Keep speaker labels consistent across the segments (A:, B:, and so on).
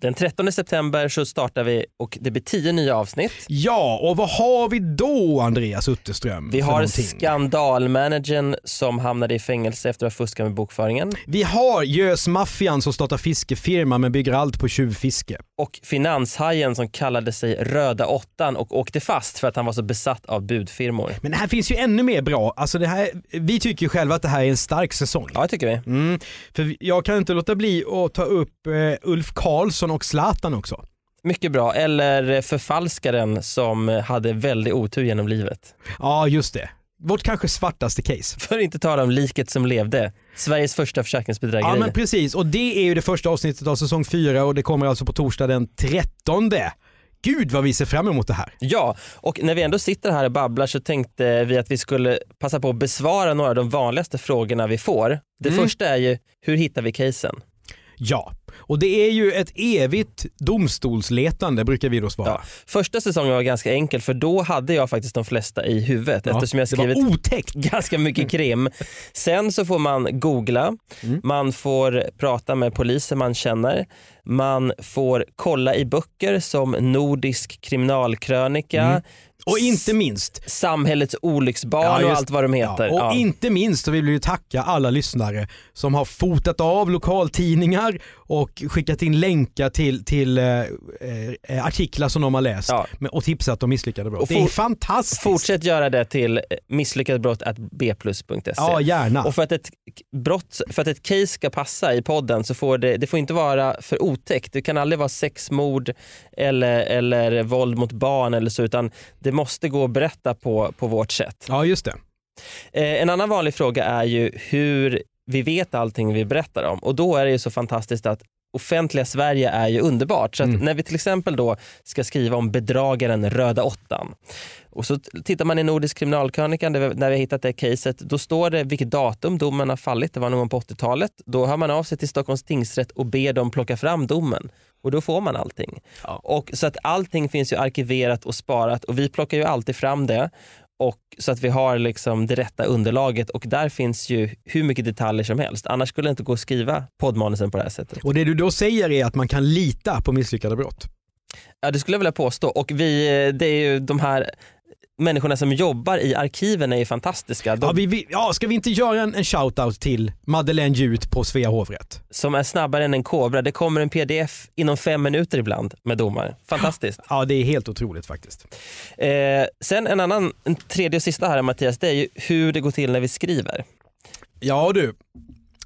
A: Den 13 september så startar vi och det blir 10 nya avsnitt.
B: Ja, och vad har vi då Andreas Utterström?
A: Vi
B: för
A: har
B: någonting?
A: skandalmanagern som hamnade i fängelse efter att ha fuskat med bokföringen
B: Vi har gösmaffian som startar fiskefirma men bygger allt på tjuvfiske.
A: och finanshajen som kallade sig Röda Åttan och åkte fast för att han var så besatt av budfirmor.
B: Men här finns ju ännu mer bra. Alltså det här, vi tycker ju själva att det här är en stark säsong.
A: Ja, det tycker vi.
B: Mm, för jag kan inte låta bli att ta upp eh, Ulf Karlsson och Zlatan också.
A: Mycket bra. Eller förfalskaren som hade väldigt otur genom livet.
B: Ja, just det. Vårt kanske svartaste case.
A: För att inte tala om liket som levde. Sveriges första försäkringsbedrägeri.
B: Ja men precis och det är ju det första avsnittet av säsong 4 och det kommer alltså på torsdag den 13. Gud vad vi ser fram emot det här.
A: Ja, och när vi ändå sitter här och babblar så tänkte vi att vi skulle passa på att besvara några av de vanligaste frågorna vi får. Det
B: Mm.
A: första är ju, hur hittar vi casen?
B: Ja, och det är ju ett evigt domstolsletande brukar vi då svara.
A: Ja. Första säsongen var ganska enkel för då hade jag faktiskt de flesta i huvudet
B: Ja,
A: eftersom jag
B: det var
A: skrivit
B: otäckt.
A: ganska mycket krim. Sen så får man googla,
B: Mm.
A: man får prata med poliser man känner, man får kolla i böcker som Nordisk kriminalkrönika,
B: Mm. Och inte minst,
A: Samhällets
B: Ja,
A: olycksbarn och
B: just-
A: allt vad de heter.
B: ja, och
A: Ja.
B: inte minst så vill vi ju tacka alla lyssnare som har fotat av lokaltidningar och skickat in länkar till, till eh, eh, artiklar som de har läst
A: Ja.
B: men- och tipsat om misslyckade brott.
A: Och
B: det är
A: for-
B: fantastiskt.
A: Fortsätt göra det till misslyckatbrott.bplus.se.
B: Ja, gärna.
A: Och för att, ett brott, för att ett case ska passa i podden så får det, det får inte vara för otäckt. Det kan aldrig vara sexmord eller, eller våld mot barn eller så utan det måste gå att berätta på, på vårt sätt.
B: Ja, just det.
A: Eh, en annan vanlig fråga är ju hur vi vet allting vi berättar om och då är det ju så fantastiskt att offentliga Sverige är ju underbart. Så att
B: Mm.
A: när vi till exempel då ska skriva om bedragaren Röda Åttan och så t- tittar man i Nordisk kriminalkrönika där vi- när vi har hittat det caset, då står det vilket datum domen har fallit, det var någon gång på 80-talet. Då hör man av sig till Stockholms tingsrätt och ber dem plocka fram domen och då får man allting. Och så att allting finns ju arkiverat och sparat och vi plockar ju alltid fram det och så att vi har liksom det rätta underlaget och där finns ju hur mycket detaljer som helst. Annars skulle det inte gå att skriva poddmanusen på det här sättet.
B: Och det du då säger är att man kan lita på misslyckade brott.
A: Ja, det skulle jag vilja påstå. Och vi, eh, det är ju de här människorna som jobbar i arkiven är ju fantastiska. De
B: Ja, vi, vi, ja, ska vi inte göra en, en shout-out till Madeleine Hjut på Svea hovrätt?
A: som är snabbare än en kobra. Det kommer en pdf inom fem minuter ibland med domar. Fantastiskt.
B: Ja, det är helt otroligt faktiskt.
A: Eh, sen en annan, en tredje och sista här Mattias, det är ju hur det går till när vi skriver.
B: Ja du,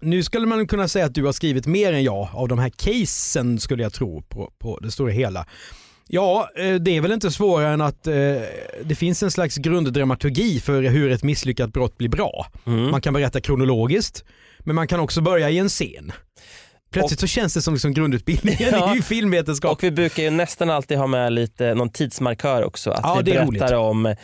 B: nu skulle man kunna säga att du har skrivit mer än jag av de här casen skulle jag tro på, på det stora hela. Ja, eh, det är väl inte svårare än att eh, det finns en slags grunddramaturgi för hur ett misslyckat brott blir bra.
A: Mm.
B: Man kan berätta kronologiskt, men man kan också börja i en scen. Plötsligt så känns det som liksom grundutbildningen
A: Ja.
B: i filmvetenskap.
A: Och vi brukar ju nästan alltid ha med lite någon tidsmarkör också. Att
B: Ja,
A: vi
B: det är
A: berättar
B: roligt. Mm.
A: om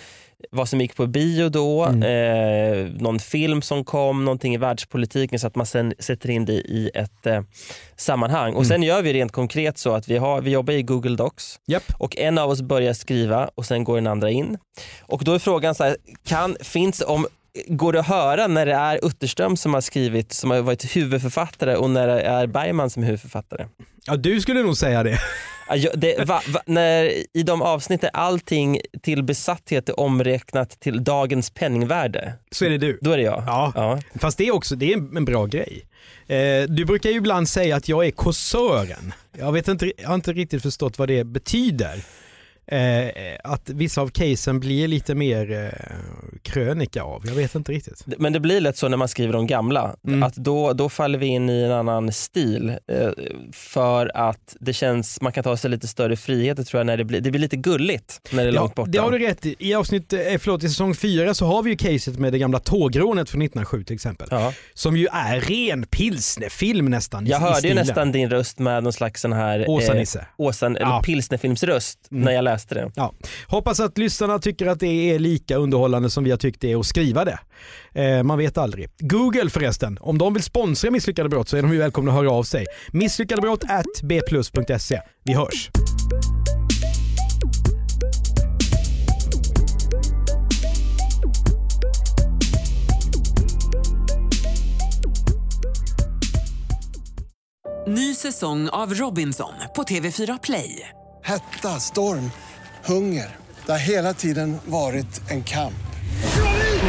A: vad som gick på bio då, eh, någon film som kom, någonting i världspolitiken så att man sen sätter in det i ett eh, sammanhang.
B: Mm.
A: Och sen gör vi rent konkret så att vi, har, vi jobbar i Google Docs
B: Japp.
A: och en av oss börjar skriva och sen går den andra in. Och då är frågan så här, kan, finns om Går det att höra när det är Utterström som har skrivit, som har varit huvudförfattare och när det är Bergman som är huvudförfattare?
B: Ja, du skulle nog säga det.
A: Ja, jag- det, va, va, när, I de avsnitt där allting till besatthet är omräknat till dagens penningvärde,
B: Så är det du.
A: då är det jag.
B: Ja. Fast det är också det är en bra grej. Eh, du brukar ju ibland säga att jag är kåsören. Jag, vet inte, jag har inte riktigt förstått vad det betyder. Eh, att vissa av casen blir lite mer eh, krönika av. Jag vet inte riktigt.
A: Det- Men det blir lätt så när man skriver de gamla,
B: Mm.
A: att då, då faller vi in i en annan stil. Eh, för att det känns, man kan ta sig lite större friheter tror jag, när det blir, det blir lite gulligt när det är långt borta.
B: det har du rätt i. I, avsnitt, eh, förlåt, i säsong 4 så har vi ju caset med det gamla tågrånet från 1907 till exempel.
A: ja.
B: Som ju är ren pilsnerfilm nästan. i-
A: Jag
B: i
A: hörde ju
B: stilen.
A: nästan din röst med någon slags sån här
B: Åsa-Nisse.
A: Åsan, eller
B: Ja.
A: pilsnerfilmsröst
B: Mm.
A: när jag läste det.
B: Ja. Hoppas att lyssnarna tycker att det är lika underhållande som vi har tyckt tyckt det och skriva det. Eh, man vet aldrig. Google förresten, om de vill sponsra Misslyckade brott så är de ju välkomna att höra av sig. Misslyckadebrott at bplus.se. Vi hörs!
C: Ny säsong av Robinson på TV4 Play.
D: Hetta, storm, hunger. Det har hela tiden varit en kamp.
C: Nu